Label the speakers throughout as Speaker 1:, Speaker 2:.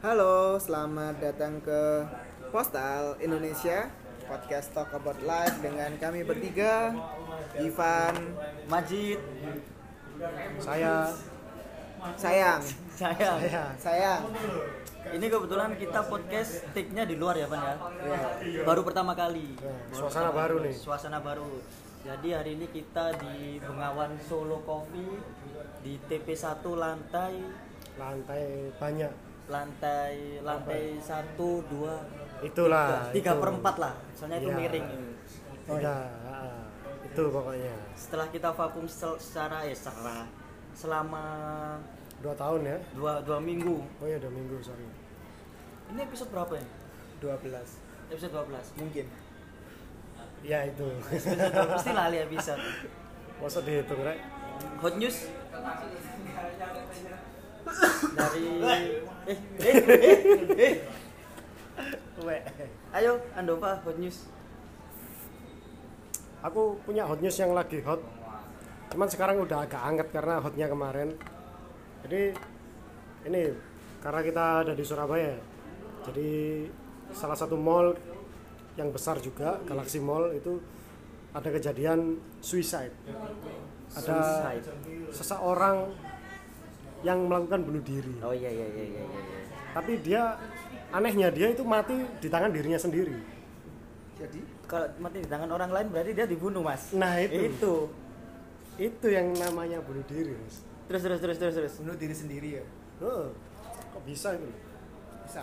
Speaker 1: Halo, selamat datang ke Postal Indonesia Podcast Talk About Life dengan kami bertiga Ivan,
Speaker 2: Majid,
Speaker 3: Saya,
Speaker 1: sayang,
Speaker 2: saya.
Speaker 3: saya,
Speaker 1: sayang
Speaker 2: Ini kebetulan kita podcast take-nya di luar ya, Pan ya.
Speaker 1: ya,
Speaker 2: Baru pertama kali.
Speaker 3: Ya,
Speaker 2: Baru
Speaker 3: Iya. suasana
Speaker 2: pertama
Speaker 3: baru
Speaker 2: kali.
Speaker 3: nih.
Speaker 2: Suasana baru. Jadi hari ini kita di Bengawan Solo Coffee di TP1 lantai
Speaker 3: lantai banyak.
Speaker 2: lantai lantai 1 2
Speaker 3: Itulah.
Speaker 2: 3
Speaker 3: Ah, itu.
Speaker 2: per 4 lah. Soalnya itu
Speaker 3: Iya.
Speaker 2: miring.
Speaker 3: Iya, ah, itu pokoknya.
Speaker 2: Setelah kita vakum sel- secara ya secara selama
Speaker 3: Dua tahun ya.
Speaker 2: dua, dua minggu.
Speaker 3: Oh ya, dua minggu, sorry.
Speaker 2: Ini episode berapa ya?
Speaker 1: 12
Speaker 2: Episode 12.
Speaker 1: mungkin
Speaker 3: Ya itu.
Speaker 2: Episode 12 pasti lali episode.
Speaker 3: Maksud dihitung, right?
Speaker 2: Hot news dari eh eh eh, eh.
Speaker 3: Weh.
Speaker 2: Ayo Andova hot news.
Speaker 3: Aku punya hot news yang lagi hot. Cuman sekarang udah agak anget karena hotnya kemarin. Jadi ini karena kita ada di Surabaya. Jadi salah satu mall yang besar juga, Galaxy Mall itu ada kejadian suicide. Ada
Speaker 2: Suicide.
Speaker 3: seseorang yang melakukan bunuh diri.
Speaker 2: Oh iya iya iya iya iya. iya.
Speaker 3: Tapi dia anehnya dia itu mati di tangan dirinya sendiri.
Speaker 1: Jadi,
Speaker 2: Kalau mati di tangan orang lain berarti dia dibunuh, Mas.
Speaker 3: Nah, itu.
Speaker 2: Itu.
Speaker 3: Itu yang namanya bunuh diri, Mas.
Speaker 2: Terus terus terus terus terus.
Speaker 1: bunuh diri sendiri ya
Speaker 3: Heeh. kok bisa itu?
Speaker 1: Bisa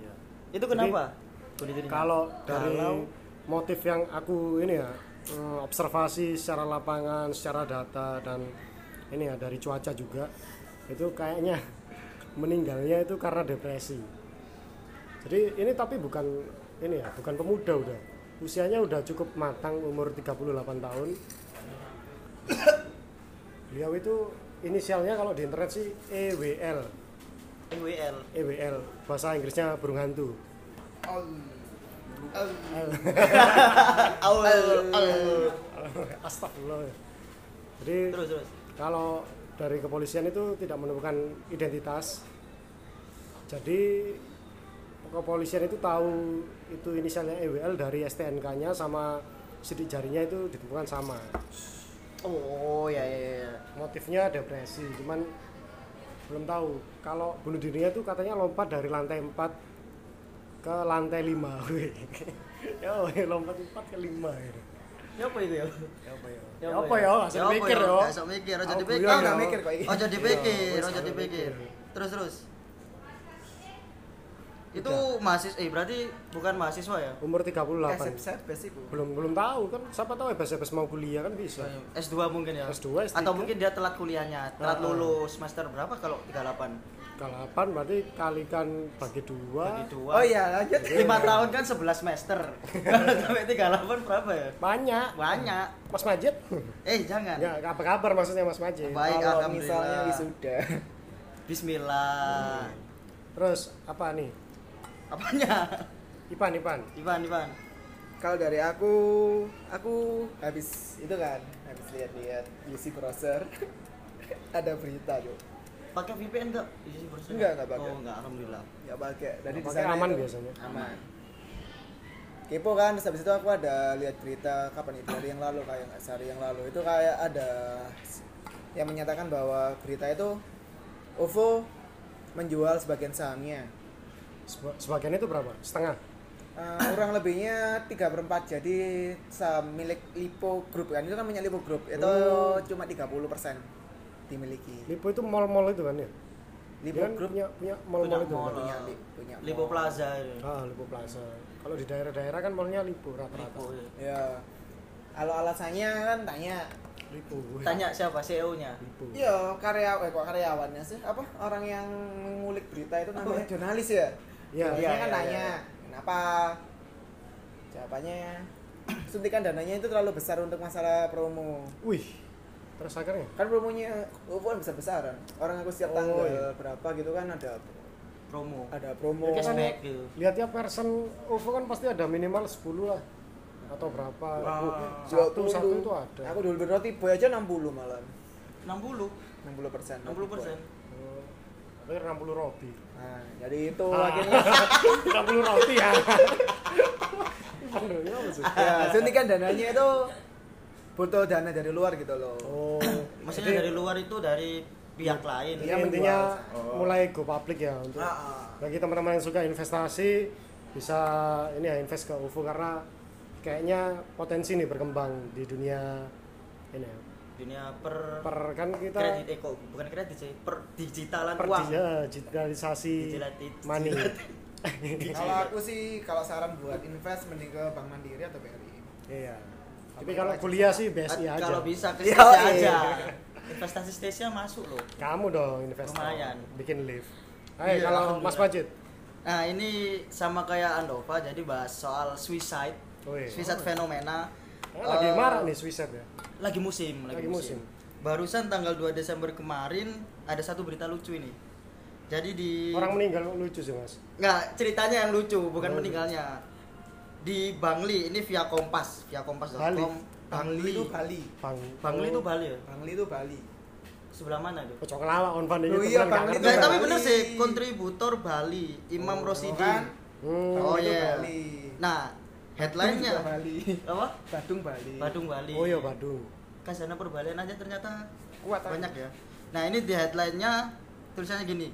Speaker 3: Iya.
Speaker 2: Itu kenapa? Bunuh dirinya.
Speaker 3: Kalau dari
Speaker 2: Iya. Kalau-
Speaker 3: motif yang aku ini ya eh, observasi secara lapangan, secara data dan ini ya dari cuaca juga itu kayaknya meninggalnya itu karena depresi. Jadi ini tapi bukan ini ya, bukan pemuda udah. Usianya udah cukup matang umur 38 tahun. Beliau itu inisialnya kalau di internet sih E EWL,
Speaker 2: MWL.
Speaker 3: EWL E bahasa Inggrisnya burung hantu.
Speaker 1: Al Al
Speaker 2: Awal.
Speaker 3: Astagfirullah. Jadi
Speaker 2: Terus terus.
Speaker 3: kalau dari kepolisian itu tidak menemukan identitas. Jadi kepolisian itu tahu itu inisialnya EWL dari STNK-nya sama sidik jarinya itu ditemukan sama.
Speaker 2: Oh iya iya iya.
Speaker 3: Motifnya depresi, cuman belum tahu. Kalau bunuh dirinya itu katanya lompat dari lantai 4 ke lantai 5. Wih. ya wih, lompat 4 ke 5 gitu.
Speaker 2: Siapa itu ya?
Speaker 3: Ya apa ya? Ya apa ya? Nggak usah
Speaker 2: Ya apa
Speaker 3: mikir
Speaker 2: ya?
Speaker 3: ya.
Speaker 2: Nggak usah mikir, ojo
Speaker 3: Aku
Speaker 2: dipikir.
Speaker 3: guyon,
Speaker 1: Oh, nggak
Speaker 3: ya.
Speaker 1: mikir kok ini.
Speaker 2: Ojo dipikir,
Speaker 3: Iya,
Speaker 2: ojo
Speaker 3: wes,
Speaker 2: dipikir.
Speaker 3: ayo dipikir.
Speaker 2: Terus terus. Itu mahasiswa, eh berarti bukan mahasiswa ya?
Speaker 3: Umur 38.
Speaker 1: Esep basic
Speaker 3: Belum belum tahu kan siapa tahu bebas-bebas mau kuliah kan bisa.
Speaker 2: S2 mungkin ya.
Speaker 3: S2, S3.
Speaker 2: Atau mungkin dia telat kuliahnya, telat
Speaker 3: Ah.
Speaker 2: lulus semester berapa kalau 38?
Speaker 3: Kalau 8 berarti kalikan bagi dua
Speaker 2: Bagi dua.
Speaker 1: Oh iya lanjut
Speaker 2: 5 tahun kan 11 semester. Kalau sampai 38 berapa ya?
Speaker 3: banyak.
Speaker 2: Banyak.
Speaker 3: Mas Majid?
Speaker 2: Eh jangan.
Speaker 1: Ya.
Speaker 3: Enggak, apa kabar maksudnya Mas Majid?
Speaker 2: Baik,
Speaker 1: Kalau misalnya
Speaker 2: alhamdulillah.
Speaker 1: wisuda
Speaker 2: Bismillah.
Speaker 3: Terus apa nih?
Speaker 2: Apanya?
Speaker 3: Ipan, Ipan.
Speaker 2: Ivan, Ivan.
Speaker 1: Kalau dari aku, aku habis itu kan, habis lihat-lihat UC Browser ada berita tuh
Speaker 2: Pakai VPN enggak? Iya, barusan.
Speaker 1: Enggak, enggak pakai.
Speaker 2: Oh, enggak, alhamdulillah.
Speaker 1: nggak pakai dari di
Speaker 3: Pakai
Speaker 1: sana
Speaker 3: aman
Speaker 1: itu-
Speaker 3: biasanya.
Speaker 1: aman kepo kan terus habis itu aku ada lihat berita kapan itu hari yang lalu kayak nggak sehari yang lalu itu kayak ada yang menyatakan bahwa berita itu OVO menjual sebagian sahamnya
Speaker 3: Seba- Sebagian itu berapa? Setengah.
Speaker 1: Eh, kurang lebihnya 3 per 4 jadi saham milik Lipo Group kan itu kan punya Lipo Group itu
Speaker 3: Oh.
Speaker 1: cuma 30% dimiliki
Speaker 3: Lipo itu mall-mall itu kan ya?
Speaker 1: Lipo
Speaker 3: Dia kan
Speaker 1: Group
Speaker 3: punya punya mall-mall
Speaker 2: Punya
Speaker 3: itu.
Speaker 2: mall.
Speaker 3: Kan?
Speaker 1: punya, li- punya
Speaker 2: Lipo
Speaker 1: mall.
Speaker 2: Plaza itu.
Speaker 3: Ah, Lipo Plaza. Kalau di daerah-daerah kan mallnya Lipo
Speaker 2: Lipo.
Speaker 3: rata-rata.
Speaker 2: iya.
Speaker 1: ya kalau alasannya kan tanya
Speaker 3: Lipo. wih.
Speaker 2: Tanya siapa E CEO-nya?
Speaker 3: Lipo.
Speaker 1: Iya, karya eh, kok karyawannya sih? Apa orang yang ngulik berita itu namanya jurnalis ya?
Speaker 3: Iya.
Speaker 1: Jurnalisnya
Speaker 2: Oh, Iya,
Speaker 1: kan
Speaker 2: iya,
Speaker 1: nanya,
Speaker 2: iya.
Speaker 1: kenapa? Jawabannya suntikan dananya itu terlalu besar untuk masalah promo.
Speaker 3: Wih. Terus akhirnya?
Speaker 1: Kan promonya ukuran besar-besaran. Orang aku setiap
Speaker 3: Oh,
Speaker 1: tanggal
Speaker 3: iya.
Speaker 1: berapa gitu kan ada
Speaker 2: Promo.
Speaker 1: ada promo.
Speaker 3: Ya, kan
Speaker 2: Cashback gitu.
Speaker 3: lihatnya person OVO kan pasti ada minimal 10 lah atau berapa
Speaker 2: Wah.
Speaker 3: satu satu itu ada
Speaker 1: Aku dulu berarti boy aja 60 malam.
Speaker 2: 60,
Speaker 1: 60 persen.
Speaker 2: 60 persen.
Speaker 3: Oh. Akhirnya 60 roti.
Speaker 1: Nah, jadi itu
Speaker 3: Ah.
Speaker 1: akhirnya
Speaker 3: 60 roti ya. Aduh, ya apa sih?
Speaker 1: ya, suntikan dananya itu butuh dana dari luar gitu loh.
Speaker 3: Oh,
Speaker 2: Maksudnya dari luar itu dari pihak lain.
Speaker 3: jadi
Speaker 1: Iya, menjual.
Speaker 3: intinya
Speaker 1: Oh.
Speaker 3: mulai go public ya untuk
Speaker 1: Ah,
Speaker 3: bagi teman-teman yang suka investasi bisa ini ya invest ke UFO karena kayaknya potensi nih berkembang di dunia ini ya.
Speaker 2: Dunia per,
Speaker 3: per kan kita
Speaker 2: kredit eh, kok bukan kredit sih, per digitalan
Speaker 3: per
Speaker 2: uang.
Speaker 3: digi- digitalisasi
Speaker 2: Digitalati-
Speaker 3: money
Speaker 1: Kalau aku sih kalau saran buat invest mending ke Bank Mandiri atau BRI.
Speaker 3: iya tapi kalau kuliah sih BSI
Speaker 2: Kan
Speaker 3: aja
Speaker 2: Kalau bisa ke
Speaker 1: Iya,
Speaker 2: Stasia
Speaker 1: iya.
Speaker 2: aja. Investasi Stasia masuk loh.
Speaker 3: kamu dong investor
Speaker 2: Lumayan.
Speaker 3: bikin lift Ayo
Speaker 2: Iya,
Speaker 3: kalau Mas Pajit
Speaker 2: Nah, ini sama kayak Andova jadi bahas soal suicide.
Speaker 3: Woi.
Speaker 2: Suicide fenomena.
Speaker 3: Eh, lagi
Speaker 2: Eh,
Speaker 3: marah nih suicide ya
Speaker 2: Lagi musim, lagi,
Speaker 3: Lagi musim.
Speaker 2: musim. Barusan tanggal 2 Desember kemarin ada satu berita lucu ini. Jadi di
Speaker 3: orang meninggal lucu sih Mas
Speaker 2: Nggak, ceritanya yang lucu, bukan
Speaker 3: Oh,
Speaker 2: meninggalnya. Di Bangli, ini via Kompas, via kompas.com.
Speaker 3: Bali.
Speaker 2: Bangli.
Speaker 1: itu Bali.
Speaker 3: Bang Oh,
Speaker 2: Bangli itu Bali ya?
Speaker 1: Bangli itu Bali.
Speaker 2: Sebelah mana itu?
Speaker 3: Pocok lala on van
Speaker 1: Oh iya,
Speaker 3: temenan nggak
Speaker 1: Bang,
Speaker 3: ngerti
Speaker 1: itu
Speaker 2: Nggak,
Speaker 3: kan?
Speaker 2: Nah, tapi
Speaker 1: Bali.
Speaker 2: bener sih, kontributor Bali, Imam Rosidi.
Speaker 1: kan?
Speaker 3: Hmm.
Speaker 1: Bangli
Speaker 2: Oh,
Speaker 1: itu
Speaker 2: iya.
Speaker 1: Bali.
Speaker 2: Nah,
Speaker 1: Badung juga
Speaker 2: headline-nya
Speaker 1: Bali.
Speaker 2: apa?
Speaker 1: Badung Bali.
Speaker 2: Badung Bali.
Speaker 3: Oh iya Badung.
Speaker 2: Kasana perbalian aja ternyata
Speaker 1: Kuat ah. aja.
Speaker 2: banyak ya. Nah, ini di headline-nya tulisannya gini.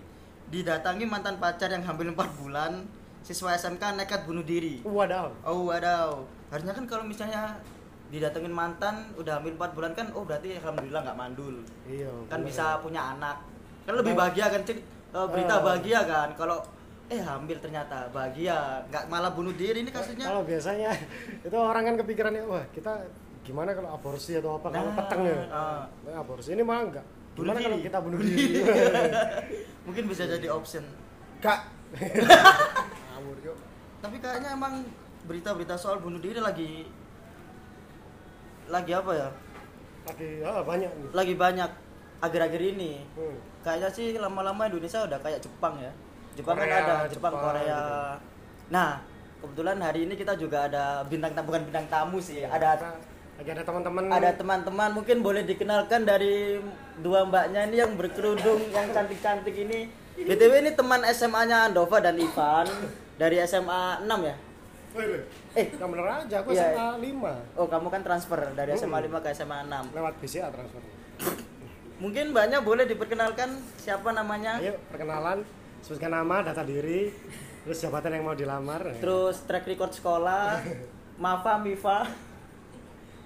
Speaker 2: Didatangi mantan pacar yang hamil 4 bulan, siswa SMK nekat bunuh diri.
Speaker 3: Wadaw.
Speaker 2: Oh wadaw, harusnya kan kalau misalnya didatengin mantan udah hamil 4 bulan kan oh berarti alhamdulillah nggak mandul
Speaker 3: Iya.
Speaker 2: kan
Speaker 3: bener.
Speaker 2: bisa punya anak kan lebih bahagia kan Cik? Eh,
Speaker 3: Eh.
Speaker 2: berita bahagia kan kalau eh hamil ternyata bahagia nggak malah bunuh diri ini kasusnya
Speaker 3: Kalau biasanya itu orang kan kepikirannya wah kita gimana kalau aborsi atau apa kalau
Speaker 2: Nah,
Speaker 3: peteng ya.
Speaker 2: ah.
Speaker 3: Nah, aborsi ini malah enggak.
Speaker 2: Bunuh
Speaker 3: Gimana kalau
Speaker 2: diri.
Speaker 3: kita bunuh
Speaker 2: Bunuh
Speaker 3: diri?
Speaker 2: mungkin bisa jadi option
Speaker 1: Gak. Ngawur yuk.
Speaker 2: tapi kayaknya emang berita-berita soal bunuh diri lagi lagi apa ya
Speaker 3: Lagi ah, banyak nih.
Speaker 2: lagi banyak akhir-akhir ini
Speaker 3: Hmm.
Speaker 2: kayaknya sih lama-lama Indonesia udah kayak Jepang ya Jepang
Speaker 3: Korea,
Speaker 2: kan ada Jepang,
Speaker 3: Jepang, gitu.
Speaker 2: Korea nah kebetulan hari ini kita juga ada bintang tamu bukan bintang tamu sih ada
Speaker 3: Nah, lagi ada teman-teman
Speaker 2: ada teman-teman mungkin boleh dikenalkan dari dua mbaknya ini yang berkerudung yang cantik-cantik ini btw ini teman SMA-nya Andova dan Ivan dari SMA 6 ya
Speaker 3: Woi, woi.
Speaker 2: eh
Speaker 3: Yang bener aja aku
Speaker 2: Iya.
Speaker 3: SMA 5
Speaker 2: oh kamu kan transfer dari
Speaker 3: Hmm.
Speaker 2: SMA 5 ke SMA 6
Speaker 3: lewat BCA transfer.
Speaker 2: mungkin mbaknya boleh diperkenalkan siapa namanya
Speaker 3: Ayo perkenalan, sebutkan nama, data diri, terus jabatan yang mau dilamar.
Speaker 2: terus track record sekolah Mafa Mifa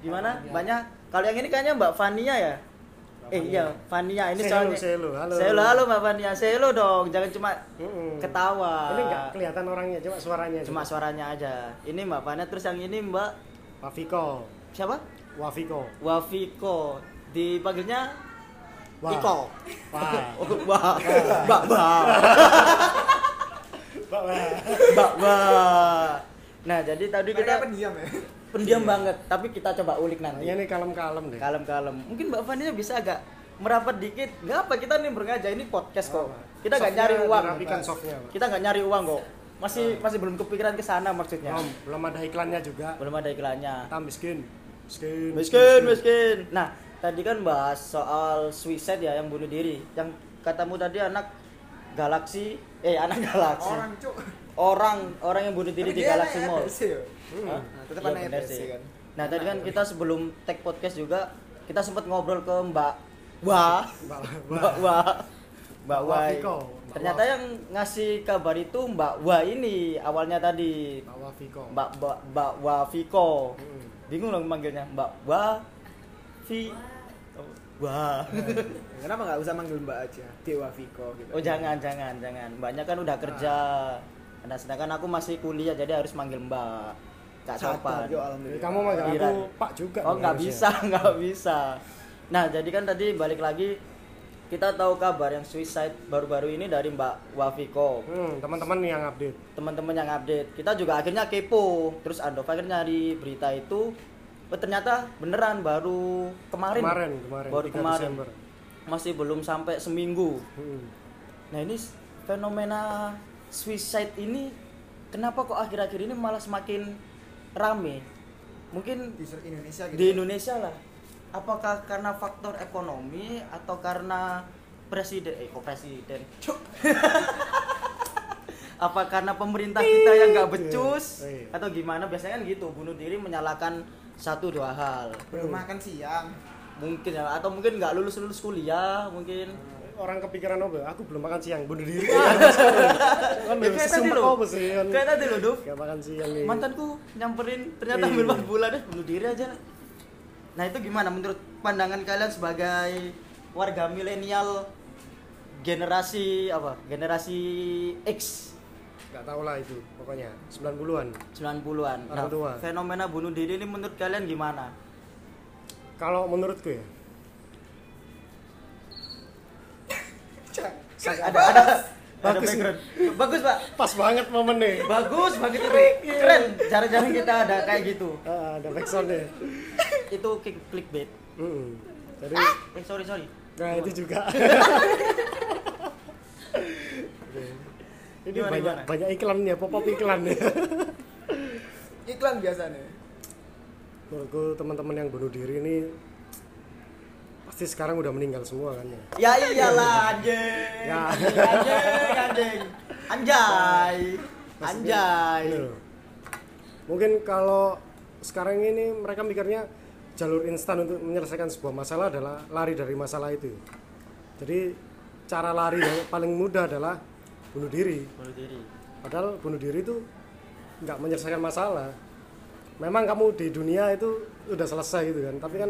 Speaker 2: gimana banyak kalau yang ini kayaknya Mbak Fania ya eh iya Fania ini
Speaker 3: Say
Speaker 2: soalnya
Speaker 3: hello, say hello, halo.
Speaker 2: Say hello, halo, Mbak Fania say hello dong jangan cuma
Speaker 3: Mm-mm.
Speaker 2: ketawa
Speaker 3: Hmm. Ini enggak kelihatan orangnya, cuma suaranya.
Speaker 2: cuma
Speaker 3: aja.
Speaker 2: suaranya aja ini Mbak Fania terus yang ini Mbak
Speaker 3: Wafiko.
Speaker 2: siapa
Speaker 3: Wafiko.
Speaker 2: Wafiko dipanggilnya
Speaker 3: Wah.
Speaker 2: Iko
Speaker 3: Wah.
Speaker 2: Oh, Mbak Mbak Mbak
Speaker 3: Wah, wah.
Speaker 2: Mbak Mbak nah jadi tadi
Speaker 1: Mereka
Speaker 2: kita
Speaker 1: pendiam ya.
Speaker 2: pendiam banget tapi kita coba ulik nanti
Speaker 3: Kayaknya nih Nah, kalem-kalem deh.
Speaker 2: kalem-kalem mungkin mbak Fania bisa agak merapat dikit nggak apa kita nih berengaja ini podcast kok kita nggak
Speaker 3: Softnya
Speaker 2: nyari uang
Speaker 3: dirapikan softnya, Pak.
Speaker 2: kita nggak nyari uang kok masih masih belum kepikiran ke sana maksudnya
Speaker 3: Belum, belum ada iklannya juga.
Speaker 2: belum ada iklannya
Speaker 3: Kita miskin. Miskin.
Speaker 2: miskin miskin nah tadi kan bahas soal suicide ya yang bunuh diri yang katamu tadi anak galaksi eh anak galaksi
Speaker 1: Orang cuk.
Speaker 2: orang orang yang bunuh
Speaker 1: Tapi
Speaker 2: diri di
Speaker 1: dia
Speaker 2: Galaxy
Speaker 1: anak
Speaker 2: Mall
Speaker 1: LPC ya.
Speaker 3: Hah?
Speaker 1: Nah, tetap
Speaker 2: Iya,
Speaker 1: anak
Speaker 2: benar
Speaker 1: LPC
Speaker 2: sih.
Speaker 1: kan.
Speaker 2: Nah, tadi kan kita sebelum tag podcast juga kita sempat ngobrol ke Mbak Wah,
Speaker 3: Mbak
Speaker 2: Mbak Wah, Mbak
Speaker 3: Mbak
Speaker 2: Wah.
Speaker 3: Wafiko. Mbak
Speaker 2: Ternyata
Speaker 3: Waf.
Speaker 2: yang ngasih kabar itu Mbak Wah ini awalnya tadi
Speaker 3: Pak Wafiko.
Speaker 2: Mbak Mbak Mbak Wafiko.
Speaker 3: Mm.
Speaker 2: Bingung dong manggilnya Mbak Wah Fi Wah.
Speaker 1: Kenapa nggak usah manggil Mbak aja? Dewa Viko gitu.
Speaker 2: Oh jangan jangan jangan. Mbaknya kan udah kerja. Nah, sedangkan aku masih kuliah jadi harus manggil Mbak. Kak
Speaker 1: Sadar
Speaker 2: sopan.
Speaker 1: yuk
Speaker 3: Jadi
Speaker 1: alhamdulillah.
Speaker 3: kamu manggil aku
Speaker 2: Iran.
Speaker 3: Pak juga.
Speaker 2: Oh
Speaker 3: nih
Speaker 2: nggak
Speaker 3: harusnya.
Speaker 2: bisa, nggak bisa. Nah jadi kan tadi balik lagi kita tahu kabar yang suicide baru-baru ini dari Mbak Wafiko.
Speaker 3: Hmm, teman-teman yang update.
Speaker 2: Teman-teman yang update, kita juga akhirnya kepo. Terus Andova akhirnya nyari berita itu, oh, ternyata beneran baru kemarin.
Speaker 3: Kemarin, kemarin.
Speaker 2: Baru
Speaker 3: 3
Speaker 2: kemarin.
Speaker 3: Desember.
Speaker 2: Masih belum sampai seminggu.
Speaker 3: Hmm.
Speaker 2: Nah ini s- fenomena suicide ini kenapa kok akhir-akhir ini malah semakin rame? Mungkin
Speaker 1: di seluruh Indonesia gitu.
Speaker 2: di Indonesia lah apakah karena faktor ekonomi atau karena presiden eh kok presiden apa karena pemerintah kita yang nggak becus
Speaker 3: Iya.
Speaker 2: atau gimana biasanya kan gitu bunuh diri menyalahkan satu dua hal
Speaker 1: belum makan kan siang
Speaker 2: mungkin ya atau mungkin nggak lulus lulus kuliah mungkin
Speaker 3: orang kepikiran apa aku belum makan siang bunuh diri kan
Speaker 2: Ya, kayak tadi
Speaker 3: sumpah
Speaker 2: loh
Speaker 3: apa sih kan
Speaker 2: kayak tadi loh Dov.
Speaker 3: gak makan siang nih
Speaker 2: mantanku nyamperin ternyata
Speaker 3: Iya.
Speaker 2: hampir 4 bulan eh, bunuh diri aja nah itu gimana menurut pandangan kalian sebagai warga milenial generasi apa generasi X
Speaker 3: gak tau lah itu pokoknya 90-an
Speaker 2: 90-an nah,
Speaker 3: Orang tua.
Speaker 2: fenomena bunuh diri ini menurut kalian gimana
Speaker 3: kalau menurutku ya
Speaker 2: ada ada ada
Speaker 3: Bagus
Speaker 2: background bagus pak
Speaker 3: pas banget momennya
Speaker 2: bagus banget itu keren jarang-jarang kita ada kayak gitu
Speaker 3: Ah, ada backsoundnya
Speaker 2: itu click- clickbait
Speaker 3: Mm-mm. jadi
Speaker 2: eh sorry sorry
Speaker 3: nah itu juga Oke. ini
Speaker 2: Gimana,
Speaker 3: banyak
Speaker 2: gimana?
Speaker 3: banyak iklan ya pop up iklan
Speaker 1: iklan biasanya
Speaker 3: menurutku teman-teman yang bunuh diri ini pasti sekarang udah meninggal semua kan ya
Speaker 2: Ya iyalah anjing.
Speaker 3: Ya.
Speaker 2: Anjing anjing anjing. Anjay. Anjay.
Speaker 3: Bener. mungkin kalau sekarang ini mereka mikirnya jalur instan untuk menyelesaikan sebuah masalah adalah lari dari masalah itu jadi cara lari yang paling mudah adalah bunuh diri
Speaker 2: Bunuh diri.
Speaker 3: padahal bunuh diri itu nggak menyelesaikan masalah memang kamu di dunia itu udah selesai gitu kan tapi kan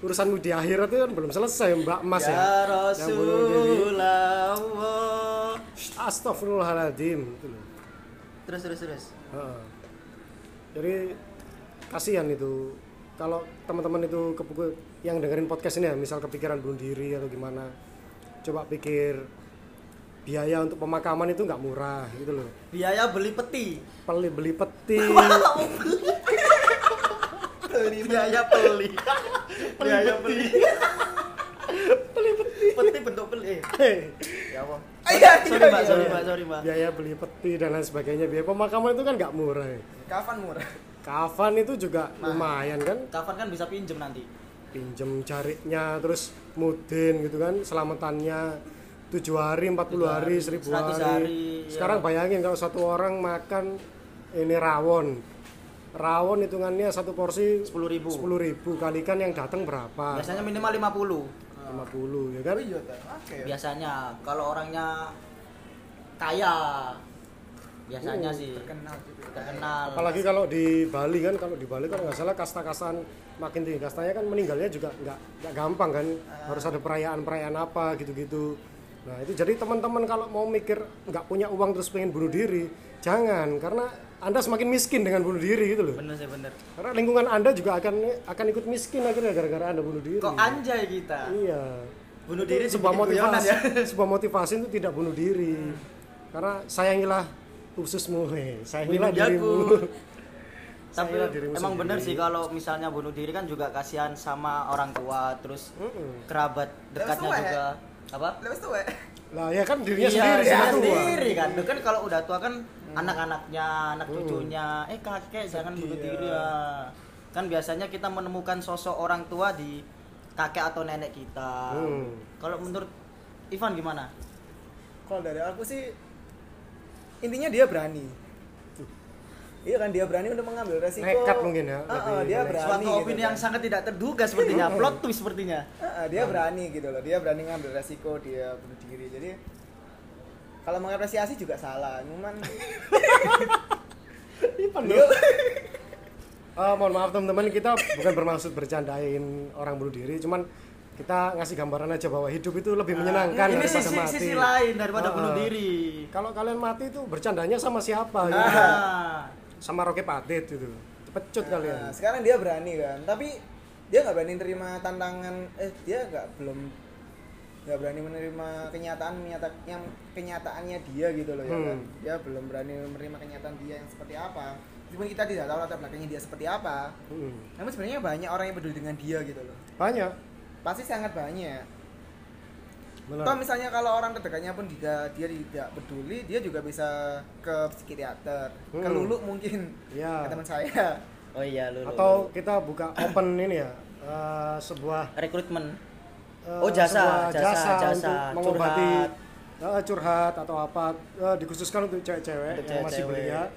Speaker 3: urusanmu di akhirat itu kan belum selesai mbak emas ya,
Speaker 2: Ya
Speaker 3: yang bunuh diri
Speaker 2: Rasulullah.
Speaker 3: astagfirullahaladzim gitu loh.
Speaker 2: Terus terus terus.
Speaker 3: Heeh. jadi kasihan itu kalau teman-teman itu kepuku yang dengerin podcast ini ya misal kepikiran bunuh diri atau gimana coba pikir biaya untuk pemakaman itu nggak murah gitu loh
Speaker 2: Biaya beli peti.
Speaker 3: beli beli peti
Speaker 2: Biaya peli. Biaya peli. Peli peti bentuk peli.
Speaker 3: Eh,
Speaker 2: Ya Allah.
Speaker 1: iya
Speaker 2: Sorry Mbak, sorry
Speaker 3: iya.
Speaker 2: Mbak, sorry Mbak.
Speaker 3: biaya beli peti dan lain sebagainya biaya pemakaman itu kan nggak murah ya.
Speaker 1: kapan murah
Speaker 3: kafan itu juga
Speaker 2: Nah.
Speaker 3: lumayan kan
Speaker 2: Kapan kan bisa pinjem nanti.
Speaker 3: pinjem jariknya terus mudin gitu kan selamatannya 7 hari 40 hari
Speaker 2: 100
Speaker 3: 1000 hari,
Speaker 2: hari, iya.
Speaker 3: sekarang bayangin kalau satu orang makan ini rawon rawon hitungannya satu porsi
Speaker 2: 10.000.
Speaker 3: 10.000 kalikan yang datang berapa
Speaker 2: Biasanya minimal 50.
Speaker 3: 50 ya kan
Speaker 2: Oh,
Speaker 1: iya Tan. oke
Speaker 2: biasanya kalau orangnya kaya biasanya
Speaker 1: Uh,
Speaker 2: sih
Speaker 1: terkenal gitu
Speaker 2: terkenal
Speaker 3: apalagi kalau di Bali kan kalau di Bali kan nggak salah kasta-kastaan makin tinggi kastanya kan meninggalnya juga nggak nggak gampang kan harus ada perayaan-perayaan apa gitu-gitu nah itu jadi teman-teman kalau mau mikir nggak punya uang terus pengen bunuh diri jangan karena anda semakin miskin dengan bunuh diri gitu loh
Speaker 2: bener sih bener
Speaker 3: karena lingkungan anda juga akan akan ikut miskin akhirnya gara-gara anda bunuh diri
Speaker 2: kok anjay kita
Speaker 3: iya
Speaker 2: bunuh diri ya.
Speaker 3: sebuah
Speaker 2: dibikin guyonan
Speaker 3: motivasi sebuah motivasi itu tidak bunuh diri karena sayangilah ususmu hei sayangilah
Speaker 2: Wibundaku.
Speaker 3: dirimu
Speaker 2: tapi
Speaker 3: Sayangilah dirimu
Speaker 2: emang
Speaker 3: sendiri.
Speaker 2: bener sih kalau misalnya bunuh diri kan juga kasihan sama orang tua terus
Speaker 3: Mm-mm.
Speaker 2: kerabat dekatnya
Speaker 1: Terus tua,
Speaker 2: juga apa
Speaker 1: lepas tuh ya
Speaker 3: Lah ya kan ya?
Speaker 2: iya,
Speaker 3: dirinya sendiri
Speaker 2: dia
Speaker 3: sama tua. Hmm.
Speaker 2: sendiri kan. Dia kan kalau udah tua kan anak-anaknya, anak cucunya, eh kakek jangan bunuh
Speaker 3: Iya.
Speaker 2: diri ya. Kan biasanya kita menemukan sosok orang tua di kakek atau nenek kita.
Speaker 3: Hmm.
Speaker 2: Kalau menurut Ivan gimana?
Speaker 1: kalau dari aku sih intinya dia berani iya kan dia berani untuk mengambil resiko
Speaker 3: Nekat mungkin ya,
Speaker 1: Heeh,
Speaker 3: lebih
Speaker 1: dia
Speaker 3: nekat.
Speaker 1: berani
Speaker 2: Suatu
Speaker 1: gitu
Speaker 2: opini
Speaker 1: kan.
Speaker 2: yang sangat tidak terduga sepertinya, plot twist sepertinya.
Speaker 1: Heeh, dia berani gitu loh dia berani ngambil resiko dia bunuh diri jadi kalau mengapresiasi juga salah cuman
Speaker 3: Eh, Iya, mohon maaf teman-teman kita bukan bermaksud bercandain orang bunuh diri, cuman kita ngasih gambaran aja bahwa hidup itu lebih
Speaker 2: Ah,
Speaker 3: menyenangkan
Speaker 2: Ini
Speaker 3: daripada
Speaker 2: sisi,
Speaker 3: mati.
Speaker 2: sisi lain daripada
Speaker 3: Ah,
Speaker 2: bunuh
Speaker 3: ah.
Speaker 2: diri.
Speaker 3: Kalau kalian mati itu bercandanya sama siapa? gitu.
Speaker 2: Nah,
Speaker 3: Sama Rocky Patit gitu. Pecut
Speaker 2: Ah.
Speaker 3: kalian.
Speaker 1: Nah, sekarang dia berani kan tapi dia nggak berani terima tantangan eh dia nggak belum nggak berani menerima kenyataan menyata- yang kenyataannya dia gitu loh ya kan
Speaker 3: Hmm.
Speaker 1: dia belum berani menerima kenyataan dia yang seperti apa meskipun kita tidak tahu latar belakangnya dia seperti apa
Speaker 3: Mm.
Speaker 1: namun sebenarnya banyak orang yang peduli dengan dia gitu loh
Speaker 3: Banyak.
Speaker 1: pasti sangat banyak
Speaker 3: Benar.
Speaker 1: Toh misalnya kalau orang terdekatnya pun juga dia tidak peduli, dia juga bisa ke psikiater, ke
Speaker 3: Hmm.
Speaker 1: Lulu mungkin,
Speaker 3: Ya.
Speaker 1: ke teman saya.
Speaker 2: oh iya lu. lu,
Speaker 3: Atau
Speaker 2: lu.
Speaker 3: kita buka open ini ya. eh, sebuah
Speaker 2: rekrutmen
Speaker 3: eh,
Speaker 2: Oh, jasa,
Speaker 3: sebuah
Speaker 2: jasa, jasa,
Speaker 3: untuk
Speaker 2: curhat.
Speaker 3: mengobati eh, curhat atau apa eh, dikhususkan untuk cewek-cewek
Speaker 2: Untuk
Speaker 3: yang masih
Speaker 2: cewek-cewek.
Speaker 3: belia.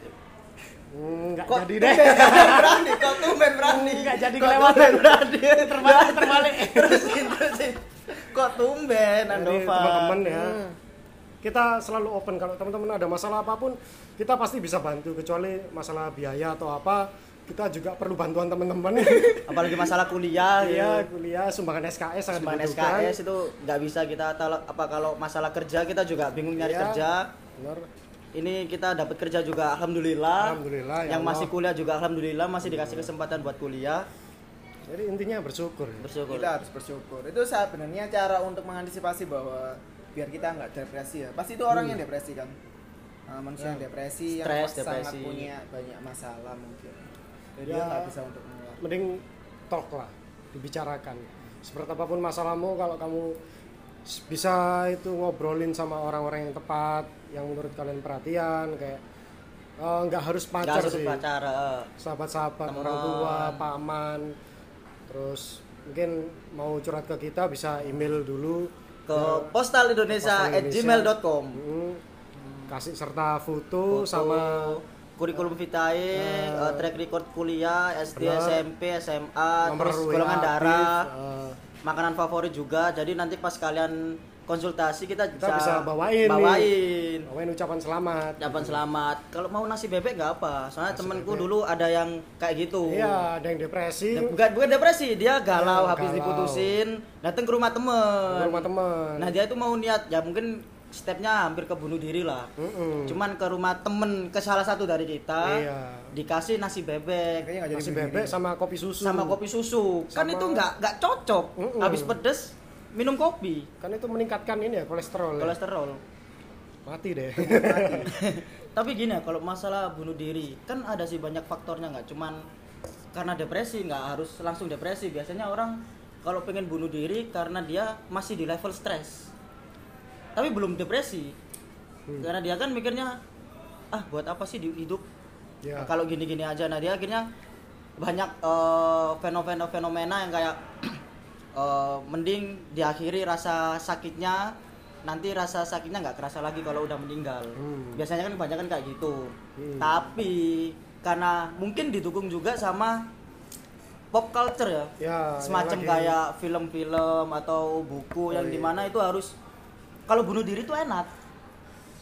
Speaker 3: Hmm, nggak
Speaker 2: Kok
Speaker 3: jadi
Speaker 2: jadi
Speaker 3: deh.
Speaker 2: berani, kok tumben berani.
Speaker 3: Nggak jadi
Speaker 2: Kok
Speaker 3: kelewatan.
Speaker 2: tumben berani. Terbalik, terbalik. Terusin, terusin. Kok tumben
Speaker 3: Jadi
Speaker 2: Andova?
Speaker 3: teman-teman ya.
Speaker 2: Hmm.
Speaker 3: Kita selalu open kalau teman-teman ada masalah apapun, kita pasti bisa bantu kecuali masalah biaya atau apa, kita juga perlu bantuan teman-teman.
Speaker 2: Apalagi masalah kuliah
Speaker 3: Iya,
Speaker 2: ya.
Speaker 3: kuliah sumbangan SKS sangat
Speaker 2: Cuman
Speaker 3: dibutuhkan.
Speaker 2: SKS itu nggak bisa kita tahu apa kalau masalah kerja kita juga bingung nyari
Speaker 3: Iya.
Speaker 2: kerja.
Speaker 3: Benar.
Speaker 2: Ini kita dapat kerja juga alhamdulillah.
Speaker 3: Alhamdulillah, ya
Speaker 2: Yang
Speaker 3: Allah.
Speaker 2: masih kuliah juga alhamdulillah masih dikasih kesempatan buat kuliah.
Speaker 3: Jadi intinya bersyukur. ya.
Speaker 2: Bersyukur.
Speaker 1: kita harus bersyukur itu sebenarnya cara untuk mengantisipasi bahwa biar kita nggak depresi ya pasti itu orang yang depresi kan Nah, manusia yang depresi yang
Speaker 2: Hmm. Ya. Stres,
Speaker 1: sangat
Speaker 2: depresi.
Speaker 1: punya banyak masalah mungkin jadi
Speaker 3: Ya.
Speaker 1: dia nggak bisa untuk mengeluarkan
Speaker 3: Mending talk lah, dibicarakan. Seperti apapun masalahmu kalau kamu s- bisa itu ngobrolin sama orang-orang yang tepat, yang menurut kalian perhatian kayak eh, nggak harus
Speaker 2: Nggak
Speaker 3: pacar
Speaker 2: harus
Speaker 3: sih.
Speaker 2: upacara. eh.
Speaker 3: Sahabat-sahabat,
Speaker 2: Teman.
Speaker 3: orang tua, paman. Terus mungkin mau curhat ke kita bisa email dulu
Speaker 2: Ke postal Indonesia at
Speaker 3: Ya, Postal Indonesia.
Speaker 2: gmail.com.
Speaker 3: Mm, kasih serta foto, sama ya.
Speaker 2: kurikulum vitae, eh, track record kuliah, SD,
Speaker 3: benar.
Speaker 2: SMP, SMA,
Speaker 3: nomor
Speaker 2: terus
Speaker 3: WA
Speaker 2: golongan
Speaker 3: aktif,
Speaker 2: darah,
Speaker 3: eh,
Speaker 2: makanan favorit juga. Jadi nanti pas kalian konsultasi kita,
Speaker 3: kita bisa, bawain nih.
Speaker 2: bawain.
Speaker 3: bawain ucapan selamat
Speaker 2: Ucapan selamat. Kalau mau nasi bebek nggak apa. Soalnya
Speaker 3: Nasi
Speaker 2: temanku
Speaker 3: bebek.
Speaker 2: dulu ada yang kayak gitu.
Speaker 3: iya ada yang depresi
Speaker 2: Ya, Bukan, bukan depresi, dia galau
Speaker 3: Iya,
Speaker 2: habis
Speaker 3: galau.
Speaker 2: diputusin, datang ke rumah
Speaker 3: ke
Speaker 2: temen.
Speaker 3: rumah temen
Speaker 2: Nah dia itu mau niat ya mungkin stepnya hampir ke bunuh diri lah.
Speaker 3: Mm-mm.
Speaker 2: Cuman ke rumah temen ke salah satu dari kita
Speaker 3: Hmm. Iya.
Speaker 2: dikasih nasi bebek
Speaker 1: kayaknya nggak jadi
Speaker 3: nasi
Speaker 1: begini.
Speaker 3: bebek sama kopi susu
Speaker 2: sama kopi susu. Kan
Speaker 3: Sama-
Speaker 2: itu nggak nggak cocok.
Speaker 3: Mm-mm.
Speaker 2: Habis pedes minum kopi
Speaker 3: kan itu meningkatkan ini ya kolesterol, ya.
Speaker 2: kolesterol.
Speaker 3: mati deh
Speaker 2: Tapi gini ya kalau masalah bunuh diri kan ada sih banyak faktornya nggak cuman karena depresi nggak harus langsung depresi. Biasanya orang kalau pengen bunuh diri karena dia masih di level stres. Tapi belum depresi. Karena dia kan mikirnya ah buat apa sih di hidup?
Speaker 3: Ya.
Speaker 2: Kalau gini-gini aja nah dia akhirnya banyak eh, fenomena-fenomena yang kayak eh, mending diakhiri rasa sakitnya nanti rasa sakitnya nggak kerasa lagi kalau udah meninggal
Speaker 3: Hmm.
Speaker 2: biasanya kan kebanyakan kayak gitu
Speaker 3: Hmm.
Speaker 2: tapi karena mungkin didukung juga sama pop culture ya
Speaker 3: ya
Speaker 2: semacam
Speaker 3: yang lagi-
Speaker 2: kayak film-film atau buku yang
Speaker 3: iya.
Speaker 2: dimana itu harus kalau bunuh diri itu enak